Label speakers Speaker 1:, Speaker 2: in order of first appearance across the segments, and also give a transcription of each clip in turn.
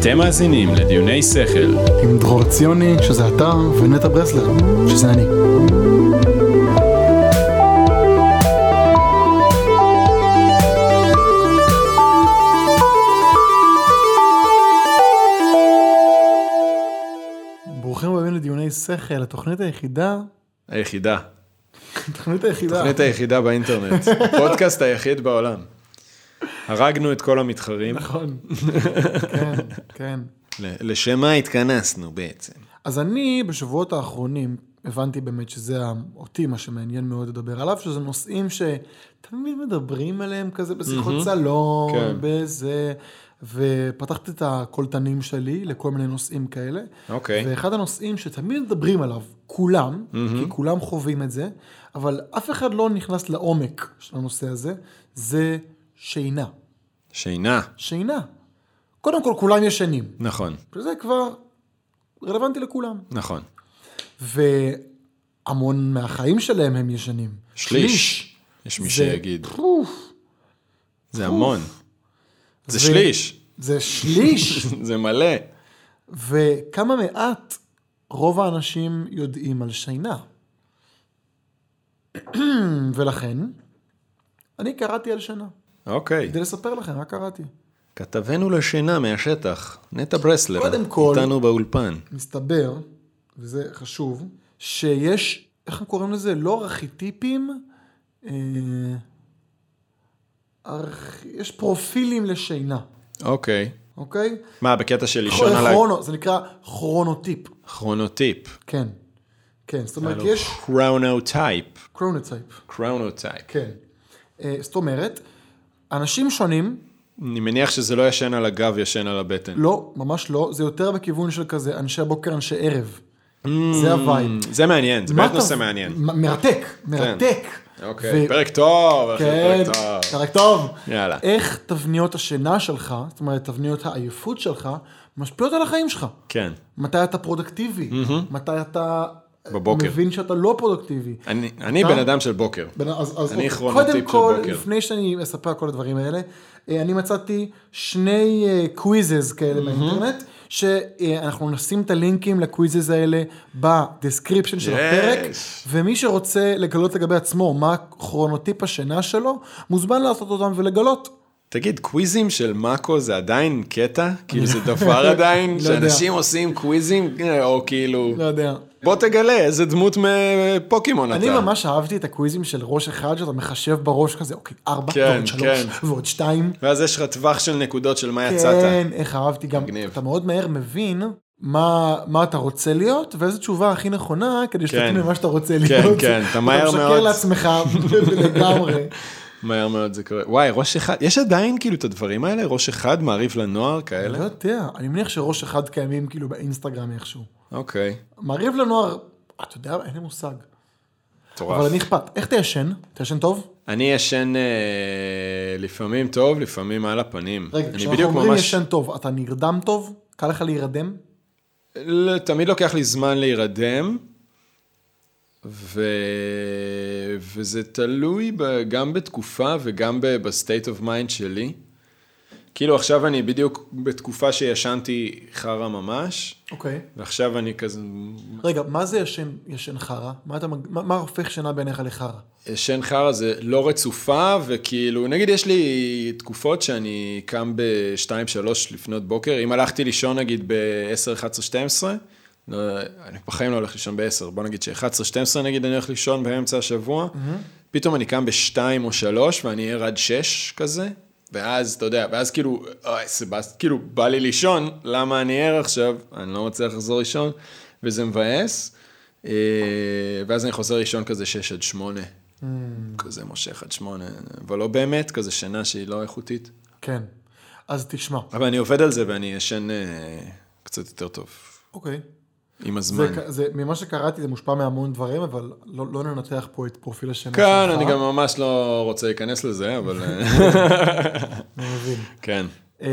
Speaker 1: אתם מאזינים לדיוני שכל,
Speaker 2: עם דרור ציוני, שזה אתה, ונטע ברסלר, שזה אני. ברוכים הבאים לדיוני שכל, התוכנית היחידה,
Speaker 3: היחידה.
Speaker 2: התוכנית היחידה,
Speaker 3: התוכנית היחידה באינטרנט. הפודקאסט היחיד בעולם. הרגנו את כל המתחרים.
Speaker 2: נכון, כן, כן.
Speaker 3: ל- לשם מה התכנסנו בעצם?
Speaker 2: אז אני בשבועות האחרונים הבנתי באמת שזה ה- אותי מה שמעניין מאוד לדבר עליו, שזה נושאים שתמיד מדברים עליהם כזה בשיחות סלון,
Speaker 3: כן.
Speaker 2: בזה, ופתחתי את הקולטנים שלי לכל מיני נושאים כאלה.
Speaker 3: אוקיי.
Speaker 2: ואחד הנושאים שתמיד מדברים עליו, כולם, כי כולם חווים את זה, אבל אף אחד לא נכנס לעומק של הנושא הזה, זה שינה.
Speaker 3: שינה.
Speaker 2: שינה. קודם כל, כולם ישנים.
Speaker 3: נכון,
Speaker 2: שזה כבר רלוונטי לכולם.
Speaker 3: נכון.
Speaker 2: והמון מהחיים שלהם הם ישנים.
Speaker 3: שליש. יש מי שיגיד.
Speaker 2: פוף,
Speaker 3: זה המון. זה
Speaker 2: ו-
Speaker 3: שליש.
Speaker 2: זה שליש,
Speaker 3: זה מלא.
Speaker 2: וכמה מעט רוב האנשים יודעים על שינה. ולכן, אני קראתי על שינה.
Speaker 3: אוקיי.
Speaker 2: כדי לספר לכם מה קראתי.
Speaker 3: כתבנו לשינה מהשטח, נטע ברסלר.
Speaker 2: קודם כל-
Speaker 3: איתנו באולפן.
Speaker 2: מסתבר, וזה חשוב, שיש, איך הם קוראים לזה? לא ארכיטיפים, אה, ארכ... יש פרופילים לשינה,
Speaker 3: אוקיי.
Speaker 2: אוקיי?
Speaker 3: מה, בקטע של לישון על
Speaker 2: כרונו, זה נקרא כרונוטיפ,
Speaker 3: הכרונוטיפ.
Speaker 2: כן. כן, זאת אומרת, יש
Speaker 3: קראונוטייפ.
Speaker 2: קרונוטייפ,
Speaker 3: קראונוטייפ.
Speaker 2: כן. אה, זאת אומרת, אנשים שונים,
Speaker 3: אני מניח שזה לא ישן על הגב, ישן על הבטן.
Speaker 2: לא, ממש לא, זה יותר בכיוון של כזה אנשי בוקר, אנשי ערב. זה הווייב.
Speaker 3: זה מעניין, זה
Speaker 2: מה
Speaker 3: Mm. באמת
Speaker 2: אתה-
Speaker 3: נושא מעניין.
Speaker 2: מ- מרתק, מרתק.
Speaker 3: אוקיי,
Speaker 2: ו-
Speaker 3: פרק טוב, אחי,
Speaker 2: כן,
Speaker 3: פרק טוב.
Speaker 2: פרק טוב.
Speaker 3: יאללה.
Speaker 2: איך תבניות השינה שלך, זאת אומרת, תבניות העייפות שלך, משפיעות על החיים שלך.
Speaker 3: כן,
Speaker 2: מתי אתה פרודקטיבי, מתי אתה אה,
Speaker 3: בבוקר.
Speaker 2: מבין שאתה לא פרודקטיבי.
Speaker 3: אני-
Speaker 2: אה?
Speaker 3: אני בן אדם של בוקר.
Speaker 2: בן- אז, אז
Speaker 3: אני
Speaker 2: אוקיי.
Speaker 3: כרונוטיפ
Speaker 2: קודם
Speaker 3: של
Speaker 2: כל,
Speaker 3: בוקר.
Speaker 2: לפני שאני אספר על כל הדברים האלה, אה, אני מצאתי שני אה, קוויזז כאלה באינטרנט, שאנחנו נשים את הלינקים לקוויזז האלה בדסקריפשן של
Speaker 3: Yes.
Speaker 2: הפרק, ומי שרוצה לגלות לגבי עצמו מה כרונוטיפ השינה שלו, מוזמן לעשות אותם ולגלות.
Speaker 3: תגיד, קוויזים של מאקו זה עדיין קטע? כאילו זה דבר עדיין?
Speaker 2: לא יודע.
Speaker 3: שאנשים עושים קוויזים? אה, או כאילו...
Speaker 2: לא יודע.
Speaker 3: בוא תגלה איזה דמות מפוקימון אתה.
Speaker 2: אני ממש אהבתי את הקוויזים של ראש אחד, שאתה מחשב בראש כזה, אוקיי, ארבע,
Speaker 3: כן,
Speaker 2: ועוד שלוש,
Speaker 3: כן.
Speaker 2: ועוד שתיים.
Speaker 3: ואז יש לך טווח של נקודות של מה יצאת.
Speaker 2: כן, איך אהבתי גם.
Speaker 3: מגניב.
Speaker 2: אתה מאוד מהר מבין מה, מה אתה רוצה להיות, ואיזו תשובה הכי נכונה כדי שתתאים
Speaker 3: כן.
Speaker 2: למה שאתה רוצה להיות.
Speaker 3: כן, אתה מהר
Speaker 2: אתה משקר
Speaker 3: מאוד.
Speaker 2: לעצמך לגמרי.
Speaker 3: מהר מאוד זה קורה. וואי, ראש אחד, יש עדיין כאילו את הדברים האלה? ראש אחד, מעריב לנוער, כאלה?
Speaker 2: אני לא יודע, אני מניח שראש אחד קיימים כאילו באינסטגרם איכשהו.
Speaker 3: אוקיי,
Speaker 2: מעריב לנוער, אתה יודע, אין לי מושג.
Speaker 3: מטורף.
Speaker 2: אבל אני אכפת. איך אתה ישן? אתה ישן טוב?
Speaker 3: אני ישן אה, לפעמים טוב, לפעמים על הפנים.
Speaker 2: רגע,
Speaker 3: אני
Speaker 2: כשאנחנו
Speaker 3: בדיוק
Speaker 2: אומרים
Speaker 3: ממש-
Speaker 2: ישן טוב, אתה נרדם טוב? קל לך להירדם?
Speaker 3: לא, תמיד לוקח לי זמן להירדם, ו... וזה תלוי ב... גם בתקופה וגם ב-state of mind שלי. כאילו עכשיו אני בדיוק בתקופה שישנתי חרא ממש,
Speaker 2: אוקיי.
Speaker 3: ועכשיו אני כזה
Speaker 2: רגע, מה זה ישן, ישן חרא? מה, אתה, מג- מה, מה הופך שינה בעיניך לחרא?
Speaker 3: ישן חרא זה לא רצופה, וכאילו, נגיד יש לי תקופות שאני קם ב-2-3 לפנות בוקר, אם הלכתי לישון נגיד ב-10, 11, 12, לא, אני בחיים לא הולך לישון ב-10, בוא נגיד ש-11, 12 נגיד אני הולך לישון באמצע השבוע, פתאום אני קם ב-2 או 3 ואני ער עד 6 כזה, ואז, אתה יודע, ואז כאילו, אוי, סבס, כאילו, בא לי לישון, למה אני ער עכשיו? אני לא מצליח לחזור לישון, וזה מבאס. אה, ואז אני חוזר לישון כזה 6 עד 8.
Speaker 2: Mm.
Speaker 3: כזה מושך עד 8, אבל לא באמת, כזה שינה שהיא לא איכותית.
Speaker 2: כן. אז תשמע,
Speaker 3: אבל אני עובד על זה ואני ישן אה, קצת יותר טוב
Speaker 2: אוקיי.
Speaker 3: עם
Speaker 2: זה,
Speaker 3: הזמן.
Speaker 2: כ- זה, ממה שקראתי זה מושפע מהמון דברים, אבל לא, לא ננתח פה את פרופיל השינה
Speaker 3: כאן כן, אני גם ממש לא רוצה להיכנס לזה, אבל... אה,
Speaker 2: אני מבין.
Speaker 3: כן.
Speaker 2: אמ,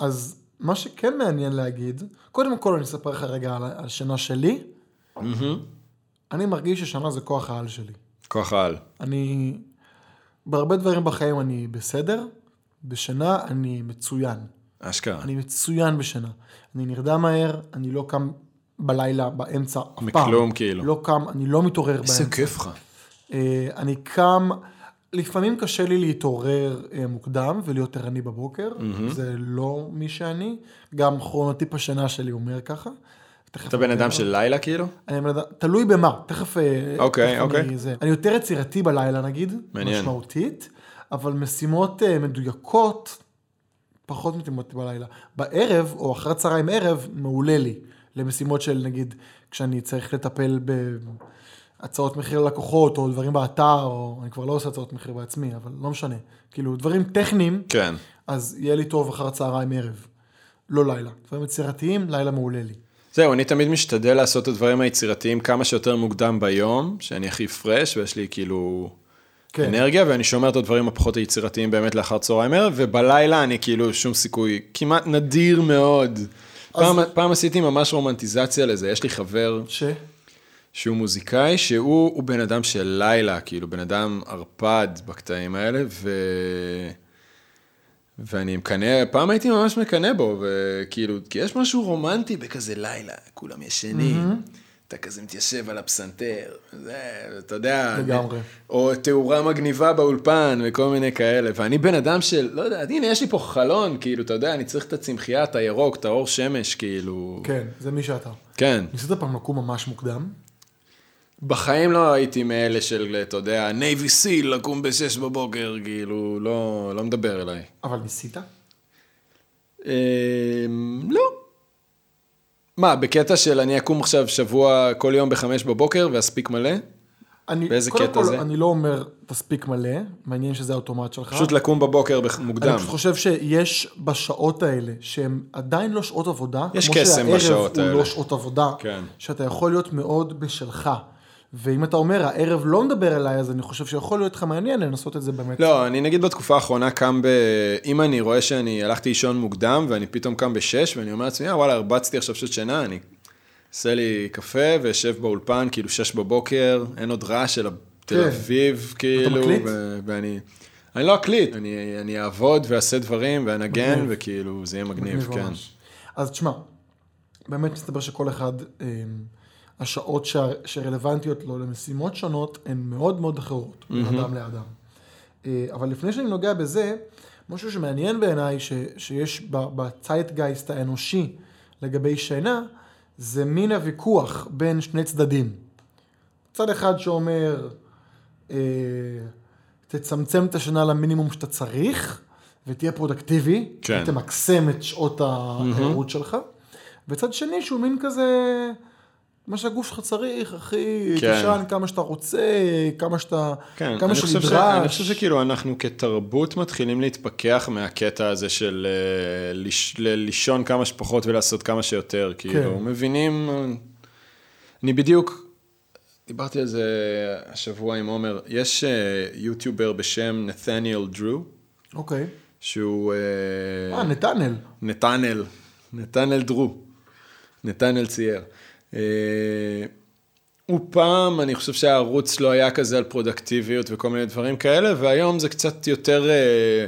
Speaker 2: אז מה שכן מעניין להגיד, קודם כל אני אספר לך רגע על, על שינה שלי. אני מרגיש ששינה זה כוח העל שלי.
Speaker 3: כוח על.
Speaker 2: אני, בהרבה דברים בחיים אני בסדר, בשינה אני מצוין.
Speaker 3: אשכרה.
Speaker 2: אני מצוין בשינה. אני נרדם מהר, אני לא קם בלילה, באמצע, אף פעם.
Speaker 3: מכלום, כאילו.
Speaker 2: לא קם, אני לא מתעורר באמצע.
Speaker 3: איזה כיף לך.
Speaker 2: אה, אני קם, לפעמים קשה לי להתעורר אה, מוקדם ולהיות ערני בבוקר, זה לא מי שאני, גם כרונוטיפ השינה שלי אומר ככה. תכף
Speaker 3: אתה בן
Speaker 2: נדבר
Speaker 3: אדם
Speaker 2: על-
Speaker 3: של לילה, כאילו?
Speaker 2: אני בן אדם, תלוי במה, תכף... אה,
Speaker 3: אוקיי,
Speaker 2: תכף
Speaker 3: אוקיי.
Speaker 2: אני, זה. אני יותר יצירתי בלילה נגיד,
Speaker 3: מעניין.
Speaker 2: משמעותית, אבל משימות אה, מדויקות, פחות מתאימות בלילה. בערב, או אחר הצהריים ערב, מעולה לי. למשימות של נגיד, כשאני צריך לטפל בהצעות מחיר ללקוחות, או דברים באתר, או אני כבר לא עושה הצעות מחיר בעצמי, אבל לא משנה. כאילו, דברים טכניים,
Speaker 3: כן.
Speaker 2: אז יהיה לי טוב אחר הצהריים ערב. לא לילה. דברים יצירתיים, לילה מעולה לי.
Speaker 3: זהו, אני תמיד משתדל לעשות את הדברים היצירתיים כמה שיותר מוקדם ביום, שאני הכי פרש ויש לי כאילו
Speaker 2: כן.
Speaker 3: כן. אנרגיה, ואני שומר את הדברים הפחות היצירתיים באמת לאחר צהריים ערב, ובלילה אני כאילו שום סיכוי, כמעט נדיר מאוד. פעם, פעם עשיתי ממש רומנטיזציה לזה, יש לי חבר
Speaker 2: ש...
Speaker 3: שהוא מוזיקאי, שהוא הוא בן אדם של לילה, כאילו בן אדם ערפד בקטעים האלה, ו... ואני מקנא, פעם הייתי ממש מקנא בו, וכאילו, כי יש משהו רומנטי בכזה לילה, כולם ישנים, אתה כזה מתיישב על הפסנתר, זה, אתה יודע.
Speaker 2: לגמרי.
Speaker 3: או תאורה מגניבה באולפן, וכל מיני כאלה, ואני בן אדם של, לא יודע, הנה, יש לי פה חלון, כאילו, אתה יודע, אני צריך את הצמחייה, את הירוק, את האור שמש, כאילו.
Speaker 2: כן, זה מי שאתה.
Speaker 3: כן.
Speaker 2: ניסית פעם לקום ממש מוקדם?
Speaker 3: בחיים לא הייתי מאלה של, אתה יודע, נייבי סיל, לקום ב-6 בבוקר, כאילו, לא, לא מדבר אליי.
Speaker 2: אבל ניסית?
Speaker 3: אמ, לא. מה, בקטע של אני אקום עכשיו שבוע כל יום בחמש בבוקר ואספיק מלא?
Speaker 2: אני,
Speaker 3: באיזה
Speaker 2: קודם
Speaker 3: קטע
Speaker 2: כל,
Speaker 3: זה?
Speaker 2: אני לא אומר תספיק מלא, מעניין שזה האוטומט שלך.
Speaker 3: פשוט לקום בבוקר בח-
Speaker 2: אני
Speaker 3: מוקדם.
Speaker 2: פשוט חושב שיש בשעות האלה, שהן עדיין לא שעות עבודה,
Speaker 3: יש
Speaker 2: כמו
Speaker 3: קסם
Speaker 2: שהערב
Speaker 3: בשעות
Speaker 2: הוא לא
Speaker 3: האלה.
Speaker 2: שעות עבודה,
Speaker 3: כן.
Speaker 2: שאתה יכול להיות מאוד בשלך. ואם אתה אומר, הערב לא מדבר אליי, אז אני חושב שיכול להיות לך מעניין לנסות את זה באמת.
Speaker 3: לא, אני נגיד בתקופה האחרונה קם ב... אם אני רואה שאני הלכתי לישון מוקדם ואני פתאום קם בשש ואני אומר לעצמי, "אה, וואלה, הרבצתי עכשיו שעות שינה, אני אעשה לי קפה ואשב באולפן, כאילו שש בבוקר, אין עוד רעש של
Speaker 2: כן.
Speaker 3: תל אביב, כאילו.
Speaker 2: מקליט?
Speaker 3: ו- ואני... אני לא אקליט, אני, אני אעבוד ואעשה דברים ואנגן, וכאילו, זה יהיה מגניב,
Speaker 2: מגניב
Speaker 3: כן.
Speaker 2: ממש. אז תשמע, באמת מסתבר שכל אחד, אה, השעות ש... שרלוונטיות לו למשימות שונות הן מאוד מאוד אחרות, בין אדם לאדם. אה, אבל לפני שאני נוגע בזה, משהו שמעניין בעיניי, ש... שיש ב- בצייטגייסט האנושי לגבי שינה, זה מין הוויכוח בין שני צדדים. צד אחד שאומר, אה, תצמצם את השנה למינימום שאתה צריך, ותהיה פרודקטיבי,
Speaker 3: כן.
Speaker 2: תמקסם את שעות הערות שלך, וצד שני שהוא מין כזה, מה שהגוף שלך צריך, אחי,
Speaker 3: כן.
Speaker 2: תשן כמה שאתה רוצה, כמה שאתה,
Speaker 3: כן,
Speaker 2: כמה
Speaker 3: אני חושב, ש... אני חושב
Speaker 2: שנדרש.
Speaker 3: שכאילו אנחנו כתרבות מתחילים להתפכח מהקטע הזה של אה, ליש... ל- לישון כמה שפחות ולעשות כמה שיותר, כאילו,
Speaker 2: כן.
Speaker 3: כן. מבינים, אני בדיוק, דיברתי על זה השבוע עם עומר, יש אה, יוטיובר בשם נתניאל דרו,
Speaker 2: אוקיי.
Speaker 3: שהוא... אה,
Speaker 2: אה, נתנאל.
Speaker 3: נתנאל, נתנאל דרו, נתנאל צייר. אה, הוא פעם, אני חושב שהערוץ לא היה כזה על פרודקטיביות וכל מיני דברים כאלה, והיום זה קצת יותר אה,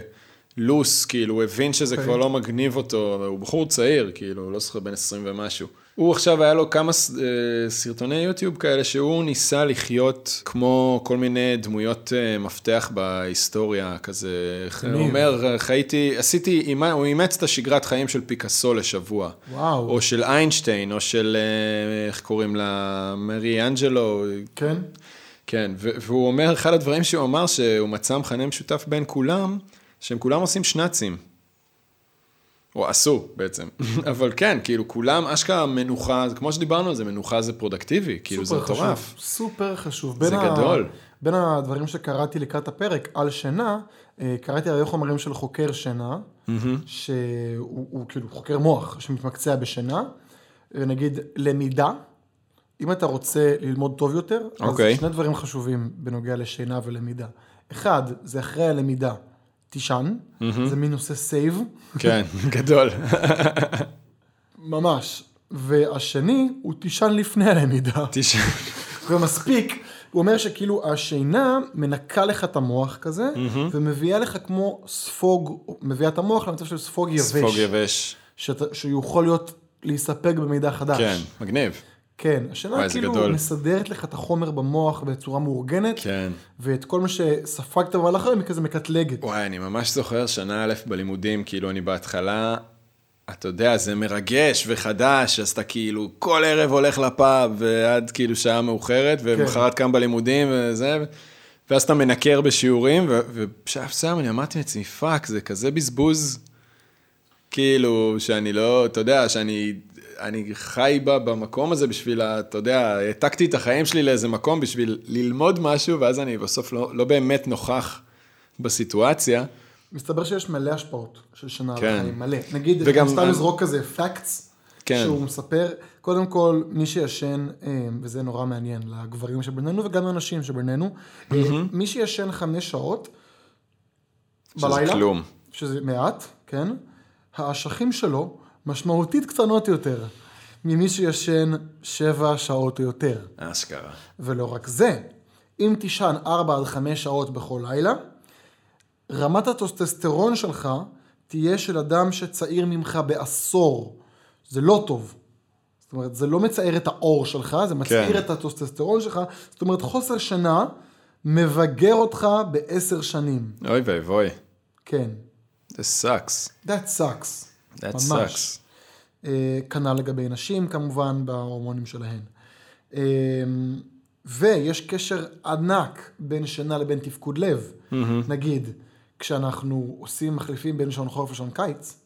Speaker 3: לוס, כאילו, הוא הבין שזה okay.
Speaker 2: אוקיי.
Speaker 3: כבר לא מגניב אותו, הוא בחור צעיר, כאילו, לא זוכר, בן 20 ומשהו. הוא עכשיו, היה לו כמה ס- אה, סרטוני יוטיוב כאלה, שהוא ניסה לחיות כמו כל מיני דמויות אה, מפתח בהיסטוריה, כזה, הוא
Speaker 2: מגניב.
Speaker 3: אומר, חייתי, עשיתי, אימה- הוא אימץ את השגרת חיים של פיקאסו לשבוע.
Speaker 2: וואו.
Speaker 3: או של איינשטיין, או של, אה, איך קוראים לה, מרי אנג'לו,
Speaker 2: כן?
Speaker 3: כן, ו- והוא אומר, אחד הדברים שהוא אמר, שהוא מצא מכנה משותף בין כולם, שהם כולם עושים שנאצים. או עשו בעצם, אבל כן, כאילו כולם, אשכרה מנוחה, כמו שדיברנו על זה, מנוחה זה פרודקטיבי, כאילו זה
Speaker 2: סופר חשוב,
Speaker 3: מטורף.
Speaker 2: סופר חשוב.
Speaker 3: זה
Speaker 2: בין ה-
Speaker 3: גדול.
Speaker 2: בין הדברים שקראתי לקראת הפרק על שינה, אה, קראתי הרבה חומרים של חוקר שינה, שהוא הוא כאילו חוקר מוח שמתמקצע בשינה, נגיד למידה, אם אתה רוצה ללמוד טוב יותר, אז
Speaker 3: אוקיי.
Speaker 2: שני דברים חשובים בנוגע לשינה ולמידה. אחד, זה אחרי הלמידה, תישן, זה מין נושא סייב,
Speaker 3: כן, גדול.
Speaker 2: ממש. והשני, הוא תישן לפני הלמידה.
Speaker 3: תשע-
Speaker 2: ומספיק הוא אומר שכאילו השינה מנקה לך את המוח כזה, ומביאה לך כמו ספוג, מביאה את המוח למצב של ספוג יבש.
Speaker 3: ספוג יבש.
Speaker 2: שאתה- שיכול להיות, להסתפק במידע חדש.
Speaker 3: כן, מגניב.
Speaker 2: כן, השינה
Speaker 3: וואי, זה
Speaker 2: כאילו
Speaker 3: גדול.
Speaker 2: מסדרת לך את החומר במוח בצורה מאורגנת,
Speaker 3: כן.
Speaker 2: ואת כל מה שספגת במהלך היום היא כזה מקטלגת.
Speaker 3: וואי, אני ממש זוכר שנה א' בלימודים, כאילו אני בהתחלה, אתה יודע, זה מרגש וחדש, אז אתה כאילו כל ערב הולך לפאב, ועד כאילו שעה מאוחרת, ומחרת קם בלימודים וזה, ואז אתה מנקר בשיעורים, ו- ובשלב מסוים אני אמרתי לעצמי, פאק, זה כזה בזבוז, כאילו, שאני לא, אתה יודע, שאני... אני חי בה במקום הזה בשביל, ה- אתה יודע, העתקתי את החיים שלי לאיזה מקום בשביל ללמוד משהו, ואז אני בסוף לא, לא באמת נוכח בסיטואציה.
Speaker 2: מסתבר שיש מלא השפעות של שנה
Speaker 3: כן.
Speaker 2: על החיים, מלא. נגיד,
Speaker 3: וגם-
Speaker 2: וגם סתם
Speaker 3: אני-
Speaker 2: לזרוק כזה פאקטס,
Speaker 3: כן.
Speaker 2: שהוא מספר, קודם כל, מי שישן, אה, וזה נורא מעניין לגברים שבינינו וגם לנשים שבינינו, אה, מי שישן חמש שעות
Speaker 3: שזה
Speaker 2: בלילה,
Speaker 3: כלום.
Speaker 2: שזה מעט, כן, האשכים שלו משמעותית קטנות יותר ממי שישן שבע שעות או יותר.
Speaker 3: אשכרה.
Speaker 2: ולא רק זה, אם תישן 4 עד 5 שעות בכל לילה, רמת הטוסטסטרון שלך תהיה של אדם שצעיר ממך בעשור. זה לא טוב. זאת אומרת, זה לא מצער את האור שלך, זה מצעיר
Speaker 3: כן.
Speaker 2: כן. את הטוסטסטרון שלך. זאת אומרת, חוסר שינה מבגר אותך בעשר שנים.
Speaker 3: אוי ואבוי.
Speaker 2: כן.
Speaker 3: זה סאקס.
Speaker 2: That sucks.
Speaker 3: That
Speaker 2: ממש.
Speaker 3: sucks.
Speaker 2: אה, כנ"ל לגבי נשים כמובן בהורמונים שלהן. אה, ויש קשר ענק בין שינה לבין תפקוד לב. נגיד, כשאנחנו עושים, מחליפים בין שעון חורף לשעון קיץ,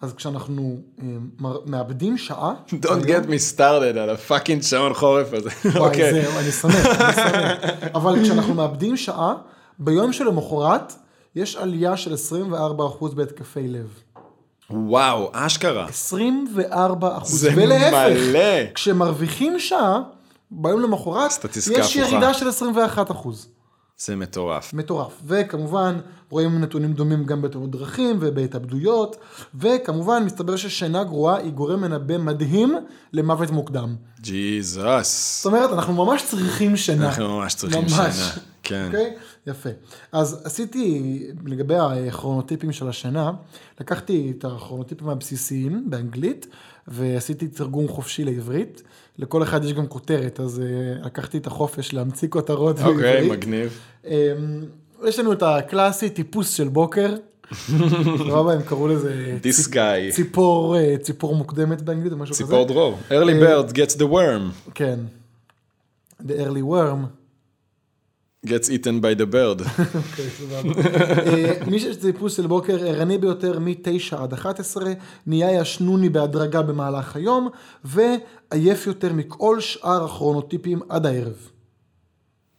Speaker 2: אז כשאנחנו אה, מר- מאבדים שעה...
Speaker 3: Don't get me started על הפאקינג שעון חורף הזה.
Speaker 2: וואי,
Speaker 3: אוקיי.
Speaker 2: זהו, אני שמח, אני שמח. אבל כשאנחנו מאבדים שעה, ביום שלמחרת יש עלייה של 24% בהתקפי לב.
Speaker 3: וואו, אשכרה.
Speaker 2: 24 אחוז,
Speaker 3: זה
Speaker 2: ולהפך,
Speaker 3: מלא.
Speaker 2: כשמרוויחים שעה, ביום למחרת,
Speaker 3: סטטיסטיקה
Speaker 2: יש
Speaker 3: הפוכה.
Speaker 2: ירידה של 21 אחוז,
Speaker 3: זה מטורף.
Speaker 2: מטורף. וכמובן, רואים נתונים דומים גם בתאונות דרכים ובהתאבדויות, וכמובן, מסתבר ששינה גרועה היא גורם מנבא מדהים למוות מוקדם.
Speaker 3: ג'יזוס.
Speaker 2: זאת אומרת, אנחנו ממש צריכים שינה.
Speaker 3: אנחנו ממש צריכים שינה, כן.
Speaker 2: אוקיי? יפה. אז עשיתי, לגבי הכרונוטיפים של השינה, לקחתי את הכרונוטיפים הבסיסיים באנגלית, ועשיתי תרגום חופשי לעברית. לכל אחד יש גם כותרת, אז אה, לקחתי את החופש להמציא כותרות
Speaker 3: אוקיי, מגניב.
Speaker 2: אמ, יש לנו את הקלאסי טיפוס של בוקר, סבבה, הם קראו לזה
Speaker 3: This
Speaker 2: ציפ- אה,
Speaker 3: guy.
Speaker 2: ציפור, אה, ציפור מוקדמת באנגלית או משהו כזה.
Speaker 3: ציפור דרור. early bird gets the worm.
Speaker 2: כן. The early worm.
Speaker 3: gets eaten by the bird.
Speaker 2: אוקיי, סבבה. אה, מי שיש טיפוס של בוקר ערני ביותר מ-9 עד 11, נהיה ישנוני בהדרגה במהלך היום, ועייף יותר מכל שאר הכרונוטיפים עד הערב.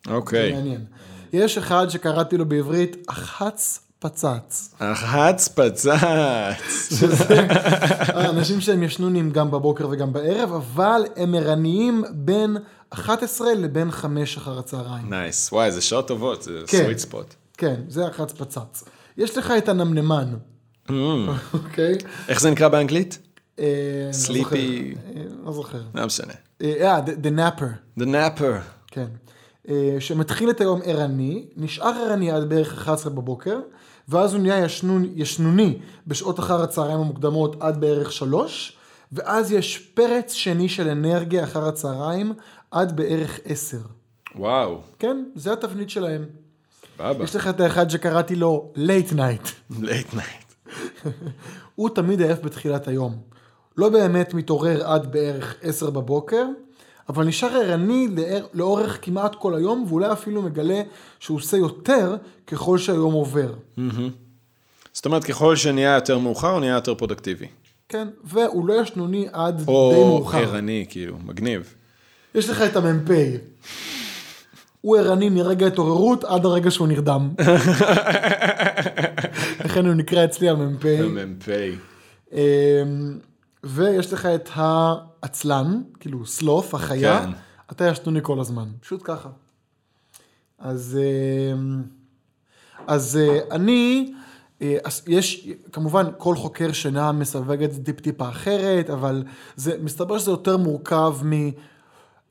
Speaker 2: זה
Speaker 3: אוקיי.
Speaker 2: מעניין. יש אחד שקראתי לו בעברית, אחץ פצץ.
Speaker 3: אחץ פצץ.
Speaker 2: שזה אנשים שהם ישנונים גם בבוקר וגם בערב, אבל הם ערניים בין 11 לבין 5 אחר הצהריים.
Speaker 3: נייס. וואי, זה שעות טובות, זה
Speaker 2: כן.
Speaker 3: sweet spot.
Speaker 2: כן, זה אחץ פצץ. יש לך את הנמנמן, אוקיי?
Speaker 3: Mm. איך זה נקרא באנגלית?
Speaker 2: אה, לא
Speaker 3: Sleepy.
Speaker 2: זוכר. אה, לא זוכר.
Speaker 3: לא משנה.
Speaker 2: אה, אה, The- The Napper,
Speaker 3: The napper.
Speaker 2: כן. אה, שמתחיל את היום ערני, נשאר ערני עד בערך 11 בבוקר, ואז הוא נהיה ישנון, ישנוני בשעות אחר הצהריים המוקדמות עד בערך 3, ואז יש פרץ שני של אנרגיה אחר הצהריים עד בערך 10.
Speaker 3: וואו,
Speaker 2: כן, זה התבנית שלהם.
Speaker 3: סבבה.
Speaker 2: יש לך את האחד שקראתי לו Late Night.
Speaker 3: late night.
Speaker 2: הוא תמיד עייף בתחילת היום. לא באמת מתעורר עד בערך 10 בבוקר, אבל נשאר ערני לאר- לאורך כמעט כל היום, ואולי אפילו מגלה שהוא עושה יותר ככל שהיום עובר.
Speaker 3: זאת אומרת, ככל שנהיה יותר מאוחר, הוא נהיה יותר פרודקטיבי.
Speaker 2: כן, והוא לא ישנוני עד די
Speaker 3: או
Speaker 2: מאוחר.
Speaker 3: ערני, כאילו, מגניב.
Speaker 2: יש לך את המ"פ. הוא ערני מרגע ההתעוררות עד הרגע שהוא נרדם. לכן הוא נקרא אצלי המ"פ.
Speaker 3: המ"פ.
Speaker 2: אמ, ויש לך את העצלן, כאילו סלוף, החיה,
Speaker 3: כן.
Speaker 2: כן. אתה ישנוני כל הזמן, פשוט ככה. אז, אמ, אז אה, אני, אה, אז יש, כמובן, כל חוקר שינה מסווג את זה טיפ-טיפה אחרת, אבל זה, מסתבר שזה יותר מורכב מ...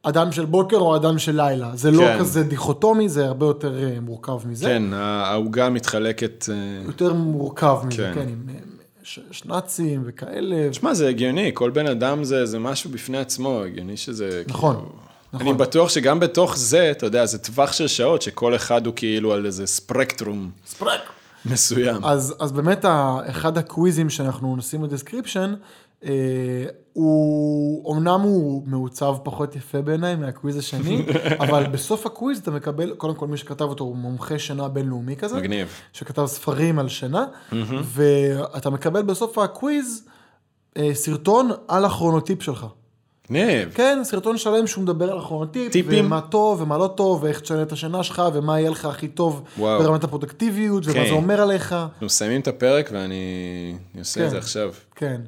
Speaker 2: אדם של בוקר או אדם של לילה. זה לא
Speaker 3: כן.
Speaker 2: כזה דיכוטומי, זה הרבה יותר אה, מורכב מזה.
Speaker 3: כן, העוגה מתחלקת... אה,
Speaker 2: יותר מורכב מזה,
Speaker 3: כן.
Speaker 2: כן, עם אה, ש- שנאצים וכאלה.
Speaker 3: תשמע, זה הגיוני, כל בן אדם זה, זה משהו בפני עצמו, הגיוני שזה...
Speaker 2: נכון,
Speaker 3: כאילו... אני
Speaker 2: נכון.
Speaker 3: בטוח שגם בתוך זה, אתה יודע, זה טווח של שעות, שכל אחד הוא כאילו על איזה ספרקטרום
Speaker 2: ספרק.
Speaker 3: מסוים.
Speaker 2: אז, אז באמת ה- אחד הקוויזים שאנחנו נשים בדסקריפשן, אה, הוא, אמנם הוא מעוצב פחות יפה בעיניי מהקוויז השני, אבל בסוף הקוויז אתה מקבל, קודם כל מי שכתב אותו הוא מומחה שינה בינלאומי כזה,
Speaker 3: מגניב.
Speaker 2: שכתב ספרים על שינה, ואתה מקבל בסוף הקוויז אה, סרטון על הכרונוטיפ שלך.
Speaker 3: מגניב.
Speaker 2: כן, סרטון שלם שהוא מדבר על הכרונוטיפ,
Speaker 3: טיפים?
Speaker 2: ומה טוב ומה לא טוב, ואיך תשנה את השינה שלך, ומה יהיה לך הכי טוב
Speaker 3: וואו.
Speaker 2: ברמת הפרודקטיביות, ומה
Speaker 3: כן.
Speaker 2: זה אומר עליך.
Speaker 3: אנחנו מסיימים את הפרק ואני אני עושה את
Speaker 2: כן.
Speaker 3: זה עכשיו.
Speaker 2: כן.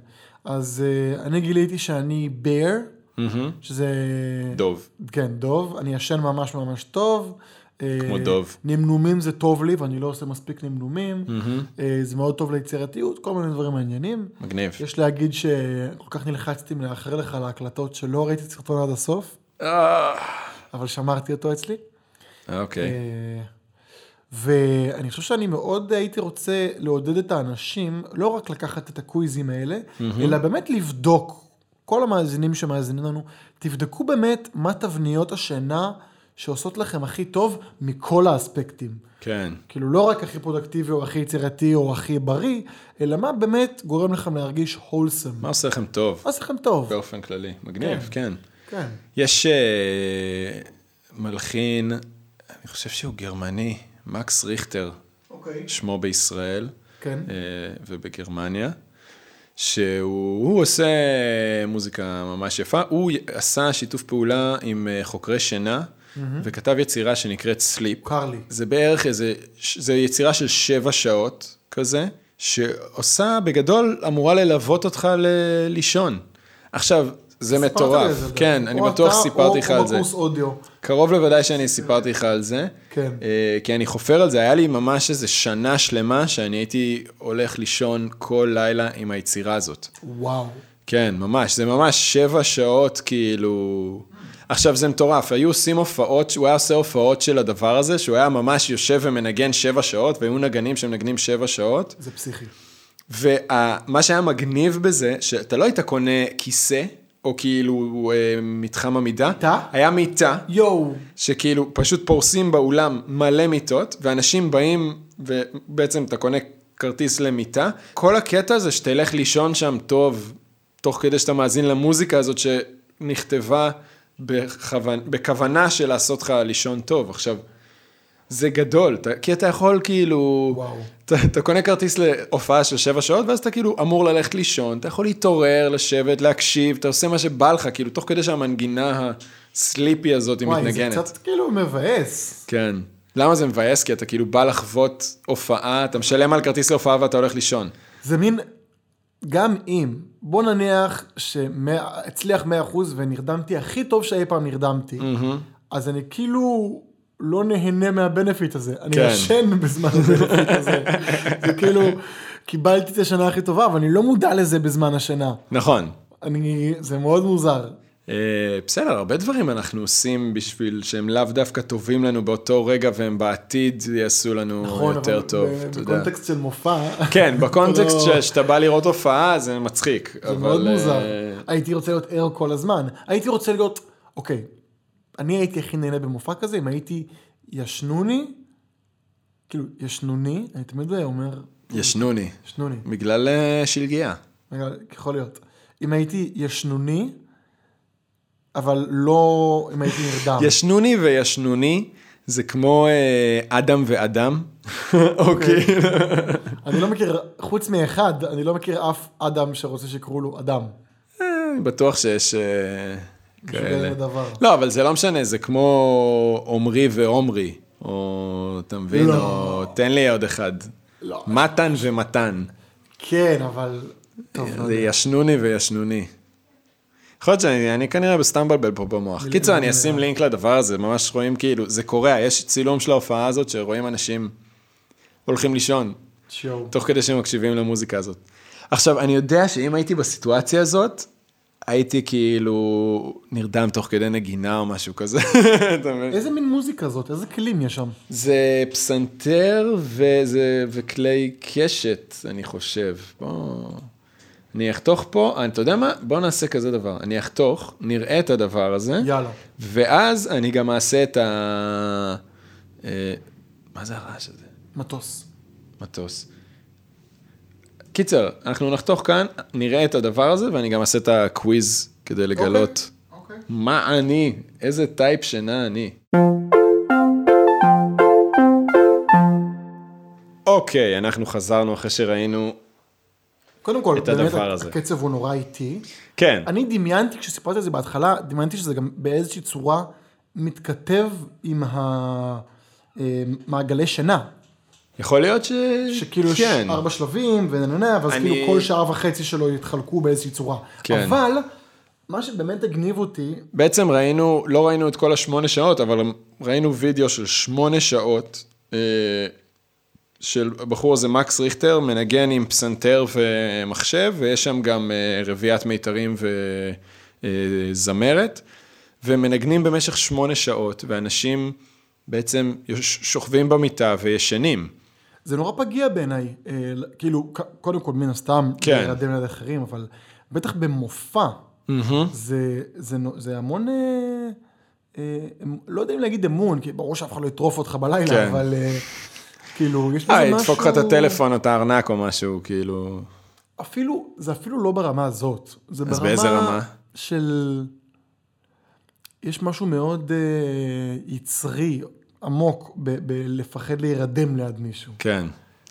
Speaker 2: אז uh, אני גיליתי שאני בר,
Speaker 3: מהמם.
Speaker 2: שזה...
Speaker 3: דוב.
Speaker 2: כן, דוב. אני ישן ממש ממש טוב.
Speaker 3: כמו
Speaker 2: אה,
Speaker 3: דוב.
Speaker 2: נמנומים זה טוב לי, ואני לא עושה מספיק נמנומים. אה, זה מאוד טוב ליצירתיות, כל מיני דברים מעניינים.
Speaker 3: מגניב.
Speaker 2: יש להגיד שכל כך נלחצתי מלאחר לך להקלטות שלא ראיתי את הסרטון עד הסוף,
Speaker 3: אה,
Speaker 2: אבל שמרתי אותו אצלי.
Speaker 3: אוקיי.
Speaker 2: אה, ואני חושב שאני מאוד הייתי רוצה לעודד את האנשים, לא רק לקחת את הקוויזים האלה, אלא באמת לבדוק, כל המאזינים שמאזינים לנו, תבדקו באמת מה תבניות השינה שעושות לכם הכי טוב מכל האספקטים.
Speaker 3: כן.
Speaker 2: כאילו לא רק הכי פרודקטיבי או הכי יצירתי או הכי בריא, אלא מה באמת גורם לכם להרגיש הולסם.
Speaker 3: מה עושה לכם טוב?
Speaker 2: עושה לכם טוב.
Speaker 3: באופן כללי. מגניב,
Speaker 2: כן.
Speaker 3: כן.
Speaker 2: כן.
Speaker 3: יש אה, מלחין, אני חושב שהוא גרמני, מקס ריכטר,
Speaker 2: אוקיי.
Speaker 3: שמו בישראל.
Speaker 2: כן.
Speaker 3: אה, ובגרמניה, שהוא הוא עושה אה, מוזיקה ממש יפה. הוא י- עשה שיתוף פעולה עם אה, חוקרי שינה, וכתב יצירה שנקראת סליפ.
Speaker 2: מוכר לי.
Speaker 3: זה בערך איזה, ש- זה יצירה של שבע שעות כזה, שעושה, בגדול, אמורה ללוות אותך ל- לישון. עכשיו, זה
Speaker 2: סיפרת לי
Speaker 3: מטורף.
Speaker 2: על זה,
Speaker 3: כן,
Speaker 2: דרך.
Speaker 3: אני
Speaker 2: או
Speaker 3: בטוח
Speaker 2: אתה
Speaker 3: שסיפרתי לך
Speaker 2: או-
Speaker 3: על
Speaker 2: או
Speaker 3: זה.
Speaker 2: בקורס אודיו.
Speaker 3: קרוב לוודאי שאני סיפרתי לך על זה.
Speaker 2: כן.
Speaker 3: אה, כי אני חופר על זה, היה לי ממש איזה שנה שלמה שאני הייתי הולך לישון כל לילה עם היצירה הזאת.
Speaker 2: וואו.
Speaker 3: כן, ממש, זה ממש שבע שעות כאילו... עכשיו זה מטורף, היו עושים הופעות, הוא היה עושה הופעות של הדבר הזה, שהוא היה ממש יושב ומנגן שבע שעות, והיו נגנים שמנגנים שבע שעות,
Speaker 2: זה פסיכי.
Speaker 3: ומה שהיה מגניב בזה, שאתה לא היית קונה כיסא, או כאילו אה, מתחם עמידה,
Speaker 2: מיטה?
Speaker 3: היה מיטה,
Speaker 2: יואו.
Speaker 3: שכאילו פשוט פורסים באולם מלא מיטות, ואנשים באים, ובעצם אתה קונה כרטיס למיטה. כל הקטע הזה שתלך לישון שם טוב, תוך כדי שאתה מאזין למוזיקה הזאת שנכתבה בכוונ... בכוונה של לעשות לך לישון טוב. עכשיו, זה גדול, אתה... כי אתה יכול כאילו...
Speaker 2: וואו.
Speaker 3: אתה, אתה קונה כרטיס להופעה של שבע שעות, ואז אתה כאילו אמור ללכת לישון, אתה יכול להתעורר, לשבת, להקשיב, אתה עושה מה שבא לך, כאילו, תוך כדי שהמנגינה הסליפי הזאת היא
Speaker 2: וואי, זה
Speaker 3: מתנגנת.
Speaker 2: קצת כאילו מבאס.
Speaker 3: כן. למה זה מבאס? כי אתה כאילו בא לחוות הופעה, אתה משלם על כרטיס להופעה ואתה הולך לישון.
Speaker 2: זה מין, גם אם, בוא נניח שהצליח 100% ונרדמתי הכי טוב שאי פעם נרדמתי, אז אני כאילו לא נהנה מהבנפיט הזה. אני
Speaker 3: כן.
Speaker 2: ישן בזמן הבנפיט הזה. זה כאילו, קיבלתי את השנה הכי טובה, אבל אני לא מודע לזה בזמן השינה.
Speaker 3: נכון.
Speaker 2: אני, זה מאוד מוזר.
Speaker 3: אה, בסדר, הרבה דברים אנחנו עושים בשביל שהם לאו דווקא טובים לנו באותו רגע והם בעתיד יעשו לנו
Speaker 2: נכון,
Speaker 3: יותר
Speaker 2: אבל
Speaker 3: טוב,
Speaker 2: ב-
Speaker 3: אתה יודע.
Speaker 2: בקונטקסט של מופע.
Speaker 3: כן, בקונטקסט
Speaker 2: לא.
Speaker 3: ש- שאתה בא לראות הופעה זה מצחיק.
Speaker 2: זה מאוד מוזר.
Speaker 3: אה,
Speaker 2: הייתי רוצה להיות ער כל הזמן. הייתי רוצה להיות, אוקיי, אני הייתי הכי נהנה במופע כזה אם הייתי ישנוני, כאילו, ישנוני, אני תמיד אומר,
Speaker 3: ישנוני,
Speaker 2: ישנוני,
Speaker 3: בגלל אה, שלגיה.
Speaker 2: רגע, יכול להיות. אם הייתי ישנוני, אבל לא אם הייתי נרדם.
Speaker 3: ישנוני וישנוני זה כמו אה, אדם ואדם, אוקיי.
Speaker 2: כן. אני לא מכיר, חוץ מאחד, אני לא מכיר אף אדם שרוצה שיקראו לו אדם.
Speaker 3: אני בטוח שיש אה, כאלה.
Speaker 2: משוגע לדבר.
Speaker 3: לא, אבל זה לא משנה, זה כמו עומרי ועומרי, או אתה מבין,
Speaker 2: לא.
Speaker 3: או תן לי עוד אחד.
Speaker 2: לא.
Speaker 3: מתן ומתן.
Speaker 2: כן, אבל... טוב, לא
Speaker 3: זה
Speaker 2: יודע.
Speaker 3: ישנוני וישנוני. יכול להיות שאני אני כנראה בסתם מבלבל פה במוח. קיצור,
Speaker 2: לא
Speaker 3: אני אשים לינק לדבר הזה, ממש רואים כאילו, זה קורע, יש צילום של ההופעה הזאת שרואים אנשים הולכים לישון,
Speaker 2: שיואו.
Speaker 3: תוך כדי שהם מקשיבים למוזיקה הזאת. עכשיו, אני יודע שאם הייתי בסיטואציה הזאת, הייתי כאילו נרדם תוך כדי נגינה או משהו כזה, אתה מבין?
Speaker 2: איזה מין מוזיקה זאת? איזה כלים יש שם?
Speaker 3: זה פסנתר וזה, וכלי קשת, אני חושב. בוא... אני אחתוך פה, אני- אתה יודע מה? בוא נעשה כזה דבר. אני אחתוך, נראה את הדבר הזה,
Speaker 2: יאללה.
Speaker 3: ואז אני גם אעשה את ה... אה, מה זה הרעש הזה?
Speaker 2: מטוס.
Speaker 3: מטוס. קיצר, אנחנו נחתוך כאן, נראה את הדבר הזה, ואני גם אעשה את הקוויז כדי לגלות
Speaker 2: אוקיי.
Speaker 3: מה אני, איזה טייפ שינה אני. אוקיי, אנחנו חזרנו אחרי שראינו...
Speaker 2: קודם כל,
Speaker 3: את
Speaker 2: באמת
Speaker 3: הדבר הזה.
Speaker 2: הקצב הוא נורא איטי.
Speaker 3: כן,
Speaker 2: אני דמיינתי, כשסיפרת את זה בהתחלה, דמיינתי שזה גם באיזושהי צורה מתכתב עם המעגלי שינה.
Speaker 3: יכול להיות ש...
Speaker 2: שכאילו יש
Speaker 3: כן.
Speaker 2: ארבע שלבים, ונהנה, ואז
Speaker 3: אני-
Speaker 2: כאילו כל שעה וחצי שלו יתחלקו באיזושהי צורה.
Speaker 3: כן.
Speaker 2: אבל, מה שבאמת הגניב אותי,
Speaker 3: בעצם ראינו, לא ראינו את כל השמונה שעות, אבל ראינו וידאו של שמונה שעות אה, של הבחור הזה, מקס ריכטר, מנגן עם פסנתר ומחשב, ויש שם גם אה, רביעיית מיתרים וזמרת, ומנגנים במשך שמונה שעות, ואנשים בעצם יוש- שוכבים במיטה וישנים.
Speaker 2: זה נורא פגיע בעיניי. אה, ל- כאילו, ק- קודם כל, מן הסתם,
Speaker 3: כן.
Speaker 2: להירדם ליד אחרים, אבל בטח במופע, זה- זה נו- זה המון... אה, אה, אמ- לא יודע אם להגיד אמון, כי ברור שאף אחד לא יטרוף אותך
Speaker 3: כן.
Speaker 2: בלילה, אבל אה, כאילו, יש בזה
Speaker 3: אה,
Speaker 2: משהו...
Speaker 3: ידפוק לך את הטלפון או את הארנק או משהו, כאילו...
Speaker 2: אפילו, זה אפילו לא ברמה הזאת. זה
Speaker 3: אז
Speaker 2: ברמה...
Speaker 3: באיזה רמה?
Speaker 2: של... יש משהו מאוד אה, יצרי, עמוק, ב- בלפחד להירדם ליד מישהו.
Speaker 3: כן.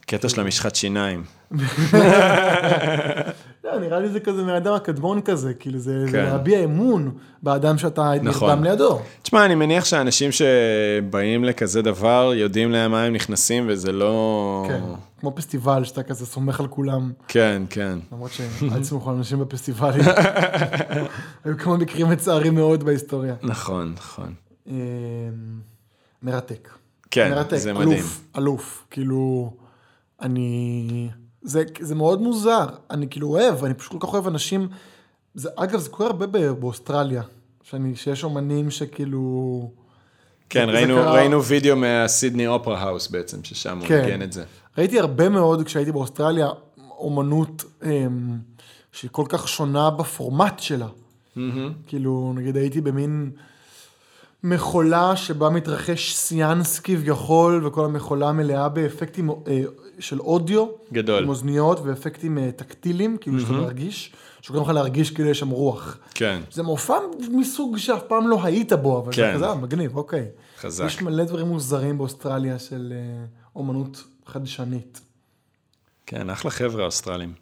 Speaker 3: קטע של המשחת שיניים.
Speaker 2: לא, נראה לי זה כזה מהאדם הקדמון כזה, כאילו זה, זה
Speaker 3: כן.
Speaker 2: להביע אמון באדם שאתה
Speaker 3: נכון.
Speaker 2: נרדם לידו.
Speaker 3: תשמע, אני מניח שאנשים שבאים לכזה דבר, יודעים למה הם נכנסים, וזה לא...
Speaker 2: כן, כמו פסטיבל שאתה כזה סומך על כולם,
Speaker 3: כן, כן.
Speaker 2: למרות שאל תסמכו על אנשים בפסטיבלים. היו כמה מקרים מצערים מאוד בהיסטוריה.
Speaker 3: נכון, נכון.
Speaker 2: אה, מרתק.
Speaker 3: כן,
Speaker 2: מרתק,
Speaker 3: זה
Speaker 2: אלוף,
Speaker 3: מדהים.
Speaker 2: אלוף, כאילו, אני... זה, זה מאוד מוזר, אני כאילו אוהב, אני פשוט כל כך אוהב אנשים... זה, אגב, זה קורה הרבה ב- באוסטרליה, שאני, שיש אומנים שכאילו...
Speaker 3: כן,
Speaker 2: זה
Speaker 3: ראינו,
Speaker 2: קרה-
Speaker 3: ראינו וידאו מהסידני אופרה האוס בעצם, ששם הוא
Speaker 2: כן.
Speaker 3: ניגן את זה.
Speaker 2: ראיתי הרבה מאוד, כשהייתי באוסטרליה, אומנות אמ, שהיא כל כך שונה בפורמט שלה. כאילו, נגיד הייתי במין מכולה שבה מתרחש סיאנס כביכול, וכל המכולה מלאה באפקטים אה, של אודיו.
Speaker 3: גדול.
Speaker 2: עם אוזניות ואפקטים אה, טקטיליים, כאילו שאתה מרגיש, שגורם לך להרגיש כאילו יש שם רוח.
Speaker 3: כן.
Speaker 2: זה מופע מסוג שאף פעם לא היית בו, אבל זה
Speaker 3: כן.
Speaker 2: כזה "אה, מגניב, אוקיי.
Speaker 3: חזק.
Speaker 2: יש מלא דברים מוזרים באוסטרליה של אה, אומנות חדשנית.
Speaker 3: כן, אחלה חבר'ה אוסטרלים.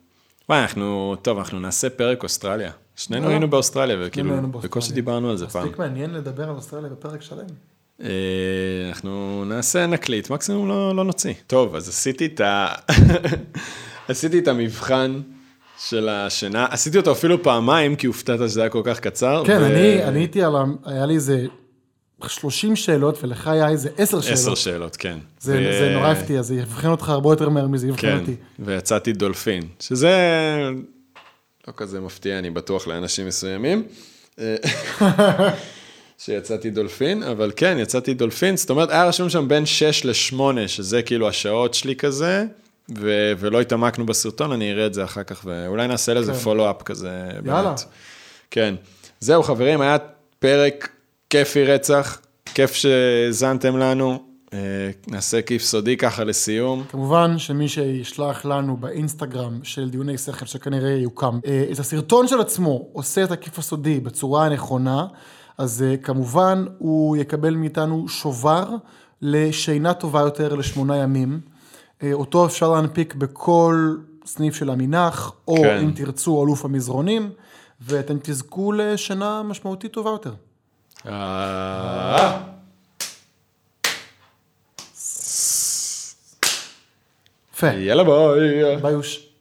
Speaker 3: וואי, אנחנו, טוב, אנחנו נעשה פרק אוסטרליה. שנינו היינו באוסטרליה, וכאילו,
Speaker 2: אה? היינו
Speaker 3: בקושי
Speaker 2: באוסטרליה.
Speaker 3: דיברנו על זה פעם.
Speaker 2: מספיק מעניין לדבר על אוסטרליה בפרק שלם.
Speaker 3: אה, אנחנו נעשה, נקליט, מקסימום לא, לא נוציא. טוב, אז עשיתי את ה... עשיתי את המבחן של השינה, עשיתי אותו אפילו פעמיים, כי הופתעת שזה היה כל כך קצר.
Speaker 2: כן,
Speaker 3: ו-
Speaker 2: אני עניתי על, ה- היה לי איזה 30 שאלות, ולך היה איזה 10
Speaker 3: עשר
Speaker 2: שאלות.
Speaker 3: שאלות, כן.
Speaker 2: זה
Speaker 3: ו-
Speaker 2: זה נורא הפתיע, זה יבחן אותך הרבה יותר מהר מזה יבחן
Speaker 3: כן,
Speaker 2: אותי.
Speaker 3: ויצאתי דולפין, שזה לא כזה מפתיע, אני בטוח, לאנשים מסוימים. אה, שיצאתי דולפין, אבל כן, יצאתי דולפין, זאת אומרת, היה רשום שם בין 6 ל-8, שזה כאילו השעות שלי כזה, ו- ולא התעמקנו בסרטון, אני אראה את זה אחר כך, ואולי נעשה לזה
Speaker 2: כן.
Speaker 3: פולו-אפ כזה, באמת.
Speaker 2: יאללה.
Speaker 3: כן. זהו, חברים, היה פרק כיפי רצח, כיף שהאזנתם לנו, אה, נעשה כיף סודי ככה לסיום.
Speaker 2: כמובן שמי שישלח לנו באינסטגרם של דיוני שכל שכנראה יוקם, אה, את הסרטון של עצמו עושה את הכיף הסודי בצורה הנכונה, אז אה, כמובן הוא יקבל מאיתנו שובר לשינה טובה יותר לשמונה ימים. אה, אותו אפשר להנפיק בכל סניף של המינח, או
Speaker 3: כן.
Speaker 2: כן. אם תרצו אלוף המזרונים, ואתם תזכו לשינה משמעותית טובה יותר.
Speaker 3: אה,
Speaker 2: יפה,
Speaker 3: יאללה ביי.
Speaker 2: ביי אוש.